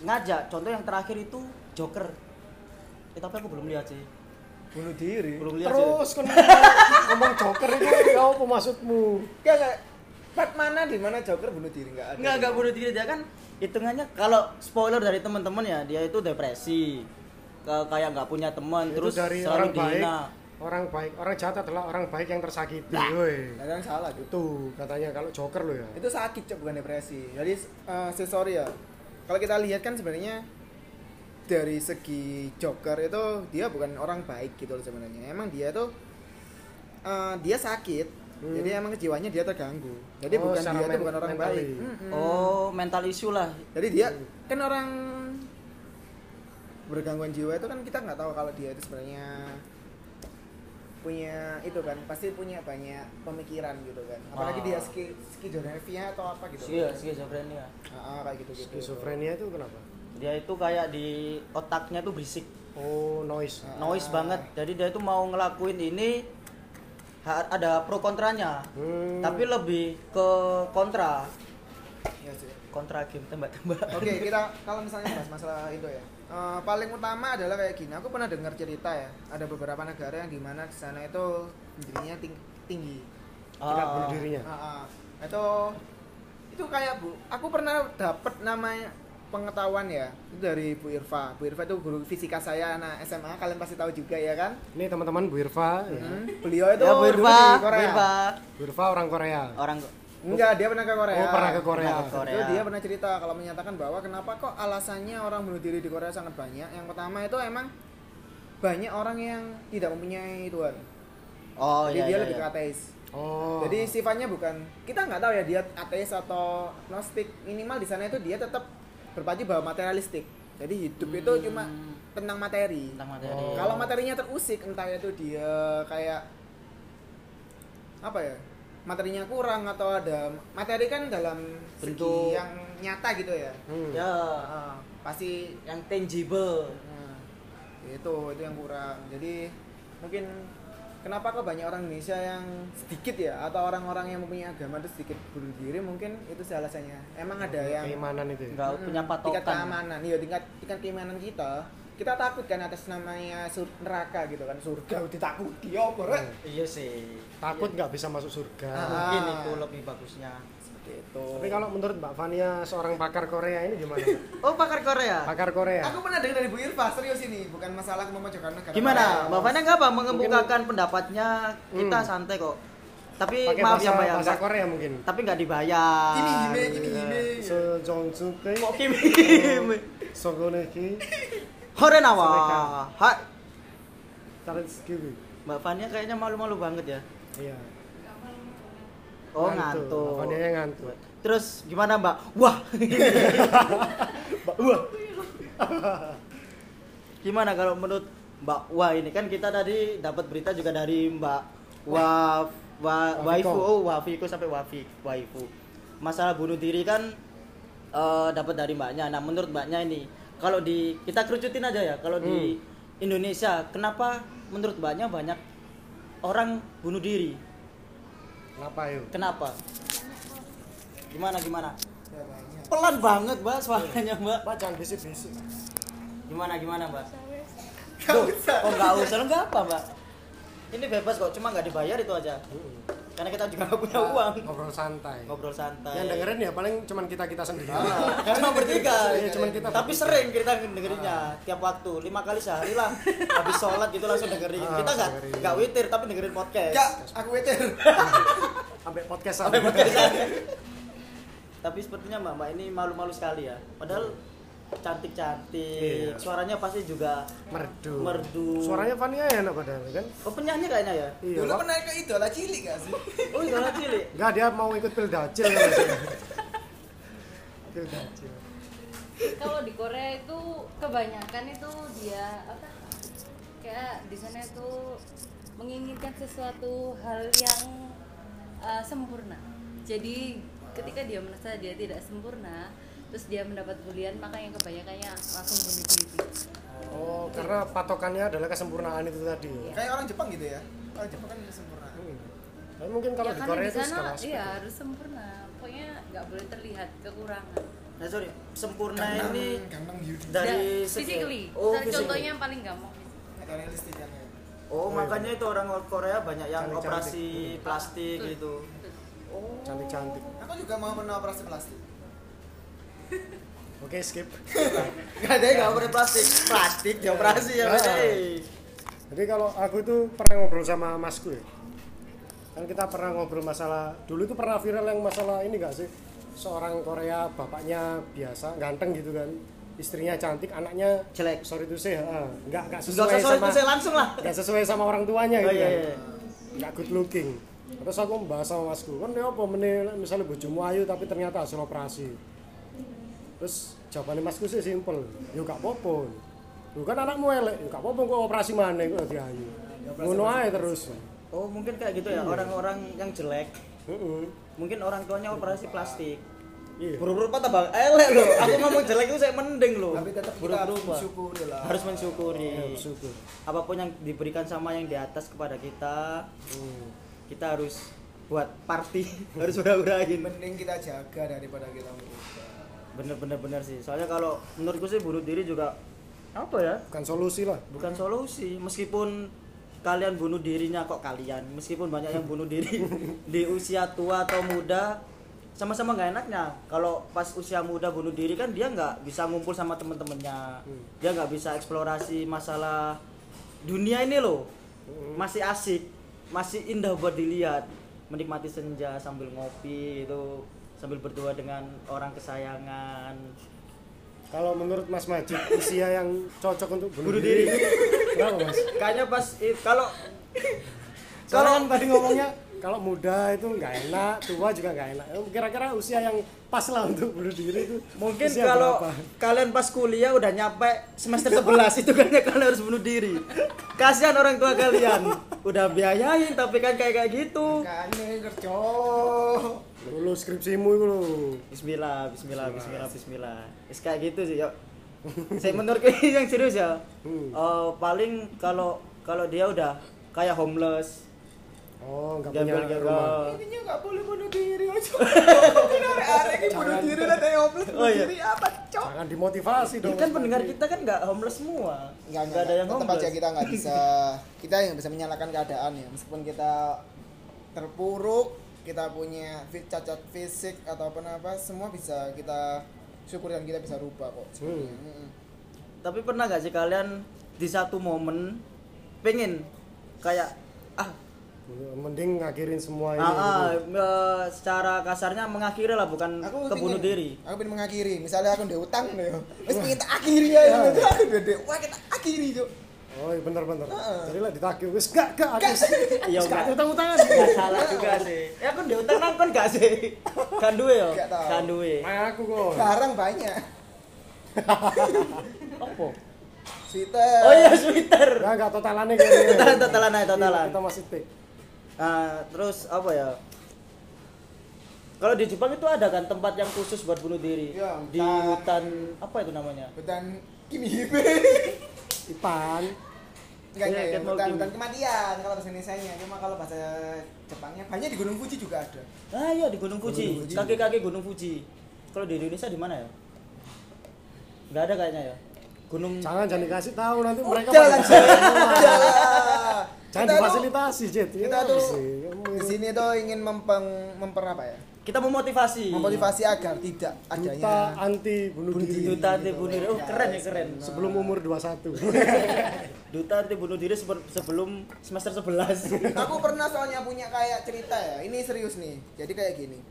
Speaker 2: ngajak contoh yang terakhir itu Joker Eh, tapi aku belum lihat sih
Speaker 1: bunuh diri
Speaker 2: belum lihat sih
Speaker 3: terus kan ngomong joker itu kan ya kau pemaksudmu
Speaker 1: Nggak, nggak. part mana di mana Joker bunuh diri nggak ada
Speaker 2: nggak nggak bunuh diri dia kan hitungannya kalau spoiler dari teman-teman ya dia itu depresi Ke- kayak nggak punya teman
Speaker 3: terus
Speaker 2: terus
Speaker 3: dari
Speaker 2: selalu
Speaker 3: orang baik
Speaker 2: dihina
Speaker 3: orang baik orang jahat adalah orang baik yang tersakiti woi
Speaker 1: Nggak ada yang salah gitu
Speaker 3: itu katanya kalau joker lo ya
Speaker 1: itu sakit cok bukan depresi jadi eh, saya sorry ya kalau kita lihat kan sebenarnya dari segi Joker itu dia bukan orang baik gitu loh sebenarnya emang dia itu eh, dia sakit jadi emang jiwanya dia terganggu jadi
Speaker 3: Oh,
Speaker 1: bukan
Speaker 3: secara
Speaker 1: dia itu
Speaker 3: men-
Speaker 1: bukan orang
Speaker 3: mentally.
Speaker 1: baik Mm-mm.
Speaker 2: oh mental issue lah
Speaker 1: jadi dia kan orang bergangguan jiwa itu kan kita nggak tahu kalau dia itu sebenarnya punya itu kan pasti punya banyak pemikiran gitu kan apalagi
Speaker 2: Ah.
Speaker 1: dia ski skizofrenia atau apa gitu
Speaker 2: Iya, skizofrenia
Speaker 1: Ah, ah, kayak gitu gitu.
Speaker 3: schizophrenia itu kenapa
Speaker 2: dia itu kayak di otaknya tuh berisik
Speaker 3: oh noise
Speaker 2: noise banget jadi dia itu mau ngelakuin ini ha- ada pro kontranya
Speaker 3: Hmm.
Speaker 2: tapi lebih ke kontra
Speaker 1: Iya sih.
Speaker 2: kontra game tembak-tembak
Speaker 1: Oke, kita kalau misalnya bahas masalah itu ya. Eh, paling utama adalah kayak gini. Aku pernah dengar cerita ya, ada beberapa negara yang dimana di sana itu dirinya ting- tinggi.
Speaker 3: tingkat
Speaker 2: Ah,
Speaker 3: bunuh dirinya
Speaker 1: Ah, ah. itu itu kayak Bu, aku pernah dapet namanya pengetahuan ya itu dari Bu Irfa. Bu Irfa itu guru fisika saya anak SMA, kalian pasti tahu juga ya kan?
Speaker 3: ini teman-teman Bu Irva ya.
Speaker 1: Hmm, Beliau itu
Speaker 2: ya Bu
Speaker 1: dulu
Speaker 2: Irva,
Speaker 1: di
Speaker 2: Bu
Speaker 1: Korea.
Speaker 2: Irva.
Speaker 3: Bu Irva orang Korea
Speaker 2: Hmm. orang
Speaker 1: Enggak, dia pernah ke Korea.
Speaker 3: oh pernah ke Korea
Speaker 2: Pernah ke Korea.
Speaker 1: Itu dia pernah cerita kalau menyatakan bahwa kenapa kok alasannya orang bunuh diri di Korea sangat banyak. Yang pertama itu emang banyak orang yang tidak mempunyai Tuhan.
Speaker 2: oh
Speaker 1: Jadi
Speaker 2: iya
Speaker 1: dia
Speaker 2: iya,
Speaker 1: lebih
Speaker 2: iya.
Speaker 1: ke ateis.
Speaker 3: oh
Speaker 1: Jadi sifatnya bukan kita nggak tahu ya dia ateis atau gnostik. Minimal di sana itu dia tetap berpacu bahwa materialistik. Jadi hidup itu cuma tentang materi.
Speaker 2: Hmm. tentang materi
Speaker 3: Oh.
Speaker 1: Kalau materinya terusik entah itu dia kayak apa ya? materinya kurang atau ada materi kan dalam segi
Speaker 2: Bentuk.
Speaker 1: yang nyata gitu ya
Speaker 3: Hmm.
Speaker 2: ya
Speaker 1: Ah, pasti
Speaker 2: yang tangible
Speaker 1: Nah, itu itu yang kurang. Jadi mungkin kenapa kok banyak orang Indonesia yang sedikit ya atau orang-orang yang mempunyai agama itu sedikit bunuh diri mungkin itu salah satunya. Emang ada yang
Speaker 3: keimanan itu
Speaker 2: nggak
Speaker 3: ya?
Speaker 1: Mm-mm,
Speaker 2: punya
Speaker 1: Hmm, tingkat
Speaker 2: patokan
Speaker 1: keamanan, iya tingkat tingkat keamanan kita kita takut kan atas namanya sur- neraka gitu kan surga ditakuti ya, apa rek?
Speaker 2: iya sih Nah,
Speaker 3: takut nggak bisa masuk surga
Speaker 1: Ah.
Speaker 2: mungkin itu lebih bagusnya
Speaker 1: Seperti itu.
Speaker 3: tapi kalau menurut Mbak Fania seorang pakar Korea ini gimana Mbak?
Speaker 2: oh pakar Korea
Speaker 3: pakar Korea
Speaker 1: aku pernah dengar dari Bu Irva serius ini bukan masalah memojokkan negara.
Speaker 2: gimana
Speaker 1: lain.
Speaker 2: mbak Fania nggak apa mengemukakan pendapatnya kita santai kok tapi
Speaker 3: pakai
Speaker 2: maaf
Speaker 3: bahasa,
Speaker 2: ya mbak ya
Speaker 3: bahasa
Speaker 2: nggak-
Speaker 3: Korea mungkin
Speaker 2: tapi nggak dibayar
Speaker 1: Gini gini gini gini.
Speaker 3: sejong suke
Speaker 2: kok iya, kimi
Speaker 3: sogoneki
Speaker 2: horenawa
Speaker 3: Senekan.
Speaker 2: Hai.
Speaker 3: taritsukibi
Speaker 2: mbak Fania kayaknya malu-malu banget ya
Speaker 3: iya
Speaker 2: Oh
Speaker 3: Ngantuk.
Speaker 2: ngantuk.
Speaker 3: Apanya yang Nah, ngantuk?
Speaker 2: Terus gimana Mbak? Wah. Mbak Wah. gimana kalau menurut Mbak Wah ini kan kita tadi dapat berita juga dari Mbak Wah Wa,
Speaker 3: Wafiko.
Speaker 2: waifu oh wafiko sampai wafi waifu masalah bunuh diri kan eh, dapat dari mbaknya nah menurut mbaknya ini kalau di kita kerucutin aja ya kalau
Speaker 3: Hmm.
Speaker 2: di Indonesia kenapa menurut mbaknya banyak orang bunuh diri
Speaker 3: kenapa yuk
Speaker 2: Kenapa? Gimana gimana?
Speaker 1: Ya, banyak.
Speaker 2: Pelan banget mbak suaranya mbak.
Speaker 3: Pak jangan bisik-bisik
Speaker 2: Iya. Gimana gimana mbak?
Speaker 1: Nggak
Speaker 2: Loh,
Speaker 1: usah.
Speaker 2: Oh nggak usah Loh, nggak apa mbak. Ini bebas kok, cuma nggak dibayar itu aja. Karena kita juga nggak punya uang.
Speaker 3: ngobrol santai
Speaker 2: Ngobrol santai.
Speaker 3: yang dengerin ya paling cuman kita kita sendiri
Speaker 2: Cuma bertiga,
Speaker 3: Iya, cuman kita
Speaker 2: tapi sering kita dengerinnya tiap waktu lima kali sehari lah habis sholat gitu langsung dengerin Ya.
Speaker 3: Ah,
Speaker 2: kita nggak
Speaker 3: dengerin.
Speaker 2: nggak witir tapi dengerin podcast
Speaker 1: Enggak, aku weter.
Speaker 3: sampai podcast
Speaker 2: Sampai
Speaker 3: sampai
Speaker 2: podcast aja. Tapi sepertinya Mbak Mbak ini malu-malu sekali ya. Padahal cantik-cantik,
Speaker 3: Iya.
Speaker 2: suaranya pasti juga
Speaker 3: merdu
Speaker 2: Merdu.
Speaker 3: suaranya Fania ya enak padahal kan
Speaker 2: Oh penyanyi kayaknya ya?
Speaker 3: iya
Speaker 1: Dulu
Speaker 3: Pak.
Speaker 1: pernah ke idola cilik gak sih?
Speaker 2: Oh iya lah, cilik.
Speaker 3: Enggak, dia mau ikut pildacil. pildacil.
Speaker 4: kalau di Korea itu kebanyakan itu dia apa kayak di sana itu menginginkan sesuatu hal yang uh, sempurna jadi ketika dia merasa dia tidak sempurna terus dia mendapat bulian maka yang kebanyakannya langsung bunuh diri
Speaker 3: Oh, karena patokannya adalah kesempurnaan itu tadi. ya?
Speaker 1: Kayak orang Jepang gitu ya. Orang Jepang kan sempurna.
Speaker 3: Hmm. Tapi mungkin kalau
Speaker 4: ya
Speaker 3: di
Speaker 4: karena
Speaker 3: Korea
Speaker 4: di
Speaker 3: itu
Speaker 4: sana
Speaker 3: segala aspek.
Speaker 4: iya harus sempurna pokoknya nggak boleh terlihat kekurangan
Speaker 2: Nah sorry, sempurna ini
Speaker 1: Gangnam Yudi.
Speaker 2: dari segi-
Speaker 4: Ya, physically
Speaker 2: Oh,
Speaker 4: Misalnya
Speaker 2: physically.
Speaker 4: contohnya yang paling gampang
Speaker 1: Ada realistik kan ya.
Speaker 2: Oh, makanya itu orang Korea banyak yang
Speaker 3: Cantik-cantik.
Speaker 2: operasi plastik gitu.
Speaker 1: Oh.
Speaker 3: Cantik-cantik.
Speaker 1: Aku juga mau menoperasi plastik.
Speaker 3: Oke, skip.
Speaker 2: Enggak ada enggak operasi plastik. Plastik dioperasi ya,
Speaker 3: Ya.
Speaker 2: Mas.
Speaker 3: Jadi kalau aku itu pernah ngobrol sama masku ya. Kan kita pernah ngobrol masalah dulu itu pernah viral yang masalah ini enggak sih? Seorang Korea bapaknya biasa, ganteng gitu kan. Istrinya cantik, anaknya
Speaker 2: Jelek.
Speaker 3: Sorry to say, heeh. Enggak
Speaker 2: Enggak
Speaker 3: enggak sesuai
Speaker 2: usah sorry,
Speaker 3: sama
Speaker 2: saya langsung lah.
Speaker 3: nggak sesuai sama orang tuanya
Speaker 2: Oh,
Speaker 3: gitu
Speaker 2: iya,
Speaker 3: kan
Speaker 2: iya.
Speaker 3: nggak good looking terus aku membahas sama masku kan ya apa meneh misalnya bojomu ayu tapi ternyata hasil operasi terus jawabannya masku sih simpel ya gak apa-apa lu kan anakmu elek ya gak apa-apa kok operasi mana kok di ayu ngono aja terus
Speaker 2: Oh, mungkin kayak gitu ya orang-orang yang jelek.
Speaker 3: Heeh.
Speaker 2: Mungkin orang tuanya operasi plastik.
Speaker 3: iya
Speaker 2: Buru-buru patah bang, elek loh. Aku ngomong jelek itu saya mending loh.
Speaker 1: Tapi tetap kita
Speaker 2: Buru-buru,
Speaker 1: harus
Speaker 2: Pak. Iya,
Speaker 1: bersyukuri lah.
Speaker 2: Oh, Harus mensyukuri.
Speaker 3: Ya, bersyukur
Speaker 2: Apapun yang diberikan sama yang di atas kepada kita,
Speaker 3: Hmm.
Speaker 2: kita harus buat party, harus hura-hurain.
Speaker 1: Mending kita jaga daripada kita merubah.
Speaker 2: Bener-bener bener sih. Soalnya kalau menurutku sih bunuh diri juga apa ya?
Speaker 3: bukan solusi lah
Speaker 2: Bukan solusi. Meskipun kalian bunuh dirinya kok kalian, meskipun banyak yang bunuh diri di usia tua atau muda, sama-sama nggak enaknya. Kalau pas usia muda bunuh diri kan dia nggak bisa ngumpul sama temen-temennya, dia nggak bisa eksplorasi masalah dunia ini loh. Masih asik, masih indah buat dilihat, menikmati senja sambil ngopi itu sambil berdua dengan orang kesayangan.
Speaker 3: kalau menurut Mas Majid usia yang cocok untuk
Speaker 2: Bunuh
Speaker 3: bunuh,
Speaker 2: diri.
Speaker 3: kenapa Mas
Speaker 2: Kayaknya pas i- kalau
Speaker 3: kalau kan tadi ngomongnya kalau muda itu nggak enak, tua juga nggak enak. Eh, Kira-kira usia yang pas lah untuk bunuh diri itu.
Speaker 2: Mungkin
Speaker 3: usia
Speaker 2: kalau
Speaker 3: berapa?
Speaker 2: kalian pas kuliah udah nyampe semester 11 itu kayaknya kalian harus bunuh diri. Kasihan orang tua kalian. Udah biayain tapi kan kayak kayak gitu.
Speaker 1: Makanya kerja.
Speaker 3: lulus skripsimu itu lo.
Speaker 2: Bismillah, bismillah, bismillah, bismillah. Is kayak gitu sih, yuk. Saya menurut yang serius ya. eh, paling kalau kalau dia udah kayak homeless,
Speaker 3: Oh, nggak punya rumah.
Speaker 2: gagal-gagal.
Speaker 1: Ini nggak boleh bunuh diri aja. Ini arek-arek ini bunuh diri lah kayak hopeless
Speaker 2: Oh,
Speaker 1: bunuh
Speaker 2: iya.
Speaker 1: diri apa cok?
Speaker 3: Jangan dimotivasi
Speaker 2: Ini
Speaker 3: dong.
Speaker 2: kan pendengar kita kan nggak homeless semua.
Speaker 1: Enggak,
Speaker 2: Nggak ada yang
Speaker 1: tetap aja gitu.
Speaker 2: homeless.
Speaker 1: kita nggak bisa kita yang bisa menyalahkan keadaan ya meskipun kita terpuruk kita punya fi- cacat fisik atau apa apa semua bisa kita syukur dan kita bisa rubah kok sebenarnya. Mm-mm.
Speaker 2: Tapi pernah nggak sih kalian di satu momen pengen kayak ah
Speaker 3: Hmm, Mending ngakhirin semua ini. gitu.
Speaker 2: Ah, ah, eh, secara kasarnya mengakhiri lah bukan
Speaker 1: aku
Speaker 2: kebunuh
Speaker 1: pingin-
Speaker 2: diri.
Speaker 1: aku pengen mengakhiri misalnya aku udah utang loh yo terus pengen tak akhiri ya
Speaker 2: Iya.
Speaker 1: yo. aku udah deh wah kita akhiri cok
Speaker 3: Oh, iya bener-bener. Jadi lah ditagih wis gak gak aku.
Speaker 2: Iya,
Speaker 3: Iya,
Speaker 2: nggak.
Speaker 3: gak utang-utangan.
Speaker 2: Gak salah juga sih. Ya kan dia utang nang kan gak sih? Kan duwe yo.
Speaker 1: Nggak tahu.
Speaker 2: Kan duwe.
Speaker 3: Nah, aku kok.
Speaker 1: barang banyak
Speaker 2: Opo?
Speaker 1: sweater
Speaker 2: Oh iya sweater.
Speaker 3: Nah, gak totalannya kayaknya.
Speaker 2: Totalan, totalan aja, totalan.
Speaker 3: Iya, Kita masih tik.
Speaker 2: Ah, terus apa ya? Kalau di Jepang itu ada kan tempat yang khusus buat bunuh diri.
Speaker 1: Iya,
Speaker 2: Di
Speaker 1: hutan.
Speaker 2: hutan apa itu namanya?
Speaker 1: hutan kimihibe
Speaker 3: Ipan. Iya,
Speaker 1: enggak
Speaker 2: Iya,
Speaker 1: enggak ya,
Speaker 2: kan mau
Speaker 1: hutan
Speaker 2: kimi.
Speaker 1: hutan kematian kalau bahasa Indonesia nya cuma kalau bahasa Jepangnya banyak di Gunung Fuji juga ada
Speaker 2: Ah iya di Gunung Fuji.
Speaker 1: Gunung Fuji.
Speaker 2: Kaki-kaki Gunung Fuji. Kalau di Indonesia di mana ya? Gak ada kayaknya ya. Gunung
Speaker 3: Hmm. Jangan jangan dikasih tahu nanti mereka
Speaker 1: Jalan,
Speaker 3: pada-
Speaker 1: jalan, jalan.
Speaker 3: Jangan
Speaker 1: Oh, Kita tuh-
Speaker 3: difasilitasi, Jet. Ya,
Speaker 1: kita tuh
Speaker 3: sih. Kamu
Speaker 1: di sini tuh ingin mempeng memper apa ya
Speaker 2: kita memotivasi.
Speaker 1: memotivasi agar tidak
Speaker 3: Duta
Speaker 1: adanya
Speaker 3: anti bunuh
Speaker 2: Bunuh
Speaker 3: diri. Nah.
Speaker 2: diri. Duta anti bunuh diri. Oh keren ya keren.
Speaker 3: Sebelum umur 21.
Speaker 2: Duta anti bunuh diri seper- sebelum semester 11.
Speaker 1: aku pernah soalnya punya kayak cerita ya ini serius nih jadi kayak gini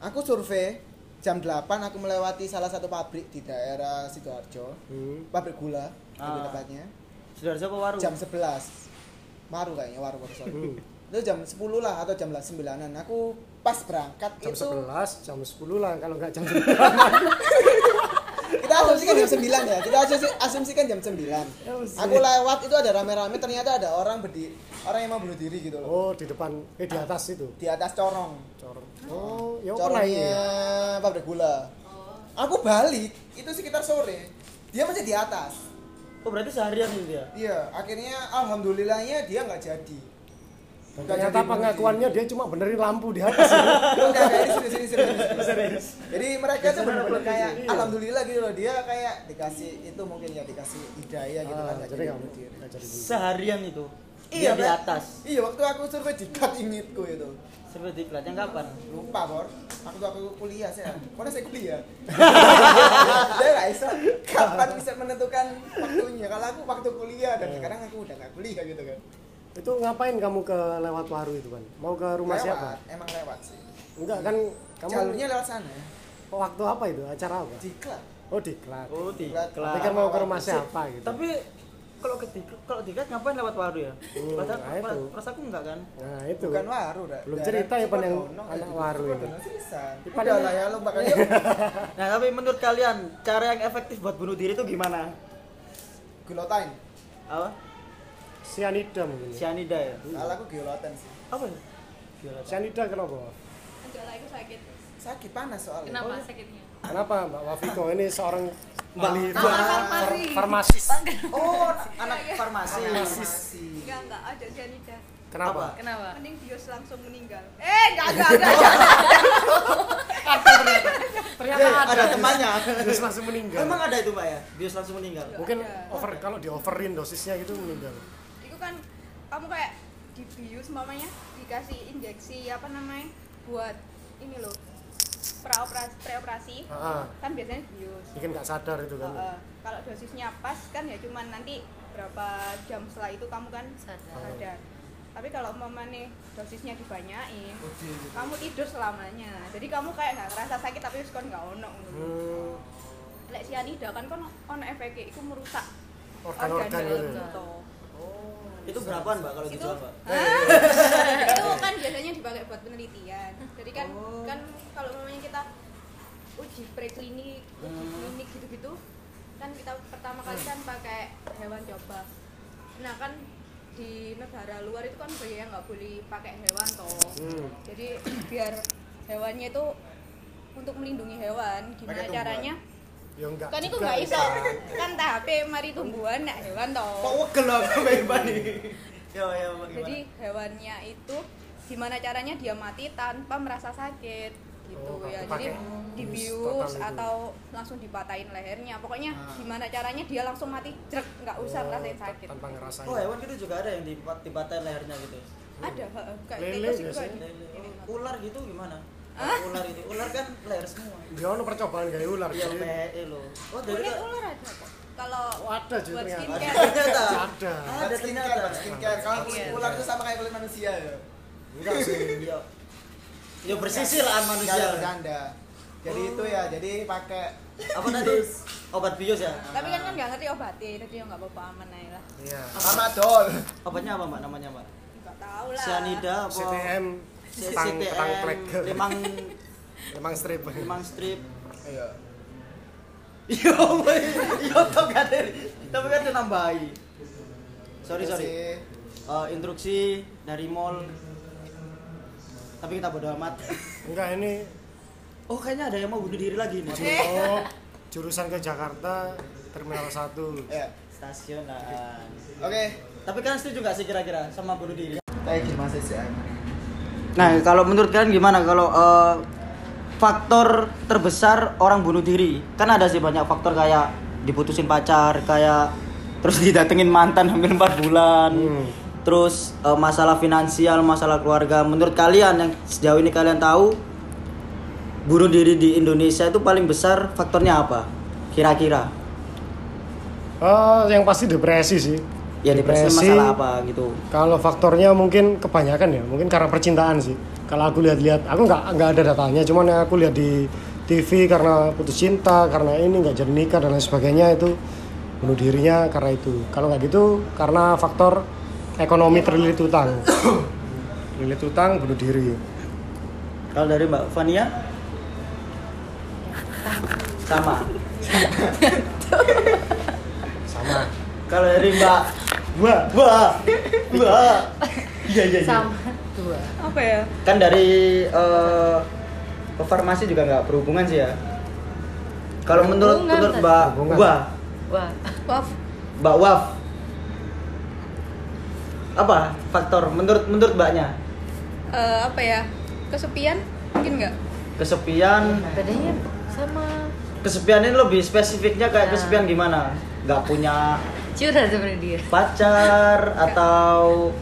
Speaker 1: aku survei jam 8 aku melewati salah satu pabrik di daerah sidoarjo
Speaker 3: Hmm.
Speaker 1: pabrik gula lebih
Speaker 2: Ah.
Speaker 1: tepatnya
Speaker 2: Sudah siapa waru?
Speaker 1: jam 11 maru kayaknya warung warung sorry. itu jam 10 lah atau jam 9an aku pas berangkat
Speaker 3: Jam
Speaker 1: itu
Speaker 3: 11, jam 10 lah kalau nggak jam
Speaker 1: kita asumsikan jam 9 ya kita asumsi, asumsikan jam
Speaker 3: Ya,
Speaker 1: 9 aku lewat itu ada rame-rame ternyata ada orang berdi orang yang mau bunuh diri gitu loh
Speaker 3: Oh, di depan eh di atas itu.
Speaker 1: di atas corong
Speaker 3: Corong. Oh, ya pernah
Speaker 1: corongnya
Speaker 3: ini.
Speaker 1: pabrik gula aku balik itu sekitar sore dia masih di atas
Speaker 2: Oh berarti seharian itu dia.
Speaker 1: iya akhirnya alhamdulillahnya dia nggak jadi
Speaker 3: Dan Ternyata pengakuannya dia cuma benerin lampu di atas.
Speaker 1: Enggak, kayak ini serius, serius, serius, serius. Jadi mereka tuh bener-bener kayak
Speaker 3: Iya.
Speaker 1: alhamdulillah gitu loh dia kayak dikasih itu mungkin ya dikasih hidayah gitu kan
Speaker 3: Ah,
Speaker 1: nggak
Speaker 3: jadi
Speaker 1: jadi
Speaker 3: nggak
Speaker 1: bunuh diri.
Speaker 3: nggak jadi.
Speaker 2: Seharian itu. Iya di
Speaker 1: Pak.
Speaker 2: atas.
Speaker 1: Iya, waktu aku survei di cut ingitku itu.
Speaker 2: Seperti diklat yang kapan?
Speaker 1: Lupa, Bor. Waktu aku kuliah saya. Mana saya kuliah? saya nggak bisa kapan bisa menentukan waktunya. Kalau aku waktu kuliah dan
Speaker 3: Iya.
Speaker 1: sekarang aku udah nggak kuliah gitu kan.
Speaker 3: Itu ngapain kamu ke lewat waru itu kan? Mau ke rumah
Speaker 1: lewat,
Speaker 3: siapa?
Speaker 1: Emang lewat sih.
Speaker 3: Enggak kan kamu
Speaker 1: Jalurnya lewat sana.
Speaker 3: waktu apa itu? Acara apa?
Speaker 1: Di club.
Speaker 3: Oh, diklat.
Speaker 2: Oh
Speaker 1: Diklat.
Speaker 3: Tapi
Speaker 2: diklat.
Speaker 3: kan mau ke rumah
Speaker 1: Sip.
Speaker 3: siapa gitu.
Speaker 2: Tapi kalau ke diklat, kalau diklat ngapain lewat waru ya?
Speaker 3: Hmm,
Speaker 2: Padahal
Speaker 3: nah itu.
Speaker 2: pra- perasa aku enggak kan.
Speaker 3: Nah, itu.
Speaker 1: Bukan waru, Ra.
Speaker 3: Belum
Speaker 1: Daerah
Speaker 3: cerita ya, Pan, yang
Speaker 1: Cipodono,
Speaker 3: anak
Speaker 1: gitu.
Speaker 3: waru ini.
Speaker 1: Cipodono sisan.
Speaker 3: Ipan
Speaker 1: Udah
Speaker 3: ini.
Speaker 1: lah ya, lo makanya yuk.
Speaker 2: Nah, tapi menurut kalian cara yang efektif buat bunuh diri itu gimana?
Speaker 1: gulotain.
Speaker 2: Apa?
Speaker 3: Sianida mungkin. ya.
Speaker 2: Cyanida ya.
Speaker 1: Kalau aku gulotan sih.
Speaker 2: Apa ya? Gila, tak-
Speaker 3: Sianida kenapa?
Speaker 4: Enggak lah, itu sakit.
Speaker 1: Sakit panas soalnya.
Speaker 4: Kenapa
Speaker 3: Oh.
Speaker 4: sakitnya?
Speaker 3: Kenapa Mbak Wafiko ini seorang
Speaker 2: Mbak
Speaker 3: ahli
Speaker 2: Mbak
Speaker 4: Farmasi.
Speaker 3: farmasis?
Speaker 1: Oh,
Speaker 2: anak farmasi.
Speaker 5: Enggak, enggak ada cyanida.
Speaker 3: Kenapa?
Speaker 2: Apa?
Speaker 4: Kenapa?
Speaker 5: Mending Dios langsung meninggal. Eh, enggak, enggak, enggak. enggak.
Speaker 2: Ternyata ada temannya.
Speaker 3: Terus langsung meninggal.
Speaker 2: Emang ada itu, Mbak ya? Bios langsung meninggal.
Speaker 3: Mungkin
Speaker 5: Ada.
Speaker 3: over kalau di overin dosisnya gitu meninggal.
Speaker 5: Itu kan kamu kayak dibius mamanya dikasih injeksi apa namanya? Buat ini loh. Praoperasi, preoperasi.
Speaker 3: Heeh.
Speaker 5: Kan biasanya bius.
Speaker 3: Ah, Bikin nggak sadar itu kan.
Speaker 5: Heeh. kalau dosisnya pas kan ya cuman nanti berapa jam setelah itu kamu kan
Speaker 4: Sadar.
Speaker 5: sadar. Tapi kalau mamane dosisnya dibanyain, kamu tidur selamanya. Jadi kamu kayak nggak ngerasa sakit tapi wis kon nggak ono. ngono.
Speaker 3: Hmm,
Speaker 5: lek sianida kan kan ono efeknya itu merusak
Speaker 3: organ-organ gitu. ya.
Speaker 5: dalam gitu.
Speaker 2: Itu berapaan, Mbak, kalau
Speaker 5: itu
Speaker 2: dijual, Mbak?
Speaker 5: Hah? itu kan biasanya dipakai buat penelitian jadi kan
Speaker 2: Oh.
Speaker 5: kan kalau namanya kita uji preklinik uji
Speaker 2: Hmm.
Speaker 5: klinik gitu-gitu kan kita pertama kali kan pakai hewan coba nah kan di negara luar itu kan biasanya nggak boleh pakai hewan toh
Speaker 3: Hmm.
Speaker 5: jadi biar hewannya itu untuk melindungi hewan gimana
Speaker 1: Pakai tumbuhan.
Speaker 5: caranya
Speaker 3: Ya enggak.
Speaker 5: kan itu
Speaker 3: juga,
Speaker 5: nggak iso
Speaker 3: Isan.
Speaker 5: kan tahapnya mari tumbuhan nak hewan toh
Speaker 2: Kok wegel lah aku Mbak nih. Ya, ya, Mbak, gimana?
Speaker 5: Jadi hewannya itu gimana caranya dia mati tanpa merasa sakit gitu
Speaker 3: Oh,
Speaker 5: ya.
Speaker 3: pakai
Speaker 5: Jadi
Speaker 3: total
Speaker 5: dibius
Speaker 3: gitu.
Speaker 5: atau langsung dipatahin lehernya. Pokoknya
Speaker 2: Ah.
Speaker 5: gimana caranya dia langsung mati jerk nggak usah
Speaker 3: Oh,
Speaker 5: ngerasain
Speaker 3: tan-
Speaker 5: sakit.
Speaker 3: Tanpa ngerasain.
Speaker 2: Oh, hewan gitu juga ada yang dipat dibatain lehernya gitu.
Speaker 5: Ada heeh, kayak
Speaker 3: Lele
Speaker 5: tikus juga.
Speaker 3: biasanya.
Speaker 5: ada.
Speaker 2: Lele.
Speaker 5: Ini.
Speaker 2: Oh, Ular gitu gimana? Ular itu, ular kan leher semua.
Speaker 3: Dia Ya ono percobaan gaya ular.
Speaker 2: Iya,
Speaker 3: jadi-
Speaker 2: PE lo. Oh, jadi
Speaker 5: Kulit
Speaker 2: kok-
Speaker 5: ular Iya. ada kok. Kalau
Speaker 3: Oh, ada juga
Speaker 5: buat
Speaker 3: ternyata.
Speaker 5: skincare.
Speaker 2: ternyata. Iya.
Speaker 3: Ada.
Speaker 2: Ada
Speaker 1: Buat skincare,
Speaker 2: ternyata.
Speaker 1: buat skincare. Kalau kulit
Speaker 5: Iya.
Speaker 1: ular itu sama kayak kulit manusia ya.
Speaker 3: Enggak sih.
Speaker 2: Iya. Ya bersisih lah
Speaker 1: Nggak ada
Speaker 2: manusia.
Speaker 1: bercanda. Jadi
Speaker 2: Oh.
Speaker 1: itu ya, jadi pakai
Speaker 2: Apa tadi? Obat bius ya?
Speaker 5: Tapi kan kan nggak ngerti obatnya, jadi ya nggak apa-apa aman aja lah.
Speaker 3: Iya.
Speaker 1: Amadol.
Speaker 2: Obatnya apa, Mbak? Namanya, Mbak?
Speaker 5: Nggak tahu lah.
Speaker 2: Cyanida apa?
Speaker 3: CTM
Speaker 2: C-
Speaker 3: tang tang
Speaker 2: CTM,
Speaker 3: plek.
Speaker 2: limang
Speaker 3: Lemang strip.
Speaker 2: limang strip.
Speaker 1: Iya.
Speaker 2: Yo, boy. yo Iya, tau gak ada, tapi kan ada nambahi. Sorry
Speaker 1: Terus
Speaker 2: sorry.
Speaker 1: sih,
Speaker 2: Eh, instruksi dari mall. Tapi kita bodo amat.
Speaker 3: Enggak ini
Speaker 2: Oh kayaknya ada yang mau bunuh diri lagi nih.
Speaker 3: Junto jurusan ke Jakarta Terminal 1.
Speaker 1: Iya.
Speaker 2: Stasionan.
Speaker 1: Oke.
Speaker 2: Tapi kalian setuju gak sih kira-kira sama bunuh diri?
Speaker 1: Kayak gimana sih sih?
Speaker 2: Nah, kalau menurut kalian gimana kalau eh, faktor terbesar orang bunuh diri? Kan ada sih banyak faktor kayak diputusin pacar, kayak terus didatengin mantan hampir 4 bulan.
Speaker 3: Hmm.
Speaker 2: Terus eh, masalah finansial, masalah keluarga. Menurut kalian yang sejauh ini kalian tahu bunuh diri di Indonesia itu paling besar faktornya apa? Kira-kira.
Speaker 3: Oh, yang pasti depresi sih.
Speaker 2: Ya depresi masalah apa gitu.
Speaker 3: Kalau faktornya mungkin kebanyakan ya, mungkin karena percintaan sih. Kalau aku lihat-lihat, aku nggak nggak ada datanya, cuman yang aku lihat di TV karena putus cinta, karena ini nggak jadi nikah dan lain sebagainya itu bunuh dirinya karena itu. Kalau nggak gitu, karena faktor ekonomi terlilit utang, terlilit utang bunuh diri.
Speaker 2: Kalau dari Mbak Fania? Sama.
Speaker 3: Sama.
Speaker 2: Kalau dari Mbak
Speaker 3: Gua
Speaker 2: Wah, wah. Iya iya. iya.
Speaker 6: sama dua
Speaker 5: Apa ya?
Speaker 2: Kan dari eh, farmasi juga nggak berhubungan sih ya. Kalau menurut
Speaker 6: Berhubungan,
Speaker 2: menurut
Speaker 6: kan?
Speaker 2: Mbak
Speaker 3: Berhubungan.
Speaker 2: Wah,
Speaker 6: wah
Speaker 5: Waf.
Speaker 2: Mbak Waf. Apa faktor menurut menurut Mbaknya?
Speaker 5: Eh, apa ya? Kesepian mungkin nggak?
Speaker 2: Kesepian,
Speaker 6: bedanya sama
Speaker 2: kesepian ini lebih spesifiknya kayak
Speaker 6: Nah.
Speaker 2: kesepian gimana? Nggak punya
Speaker 6: curhat sebenarnya dia
Speaker 2: pacar atau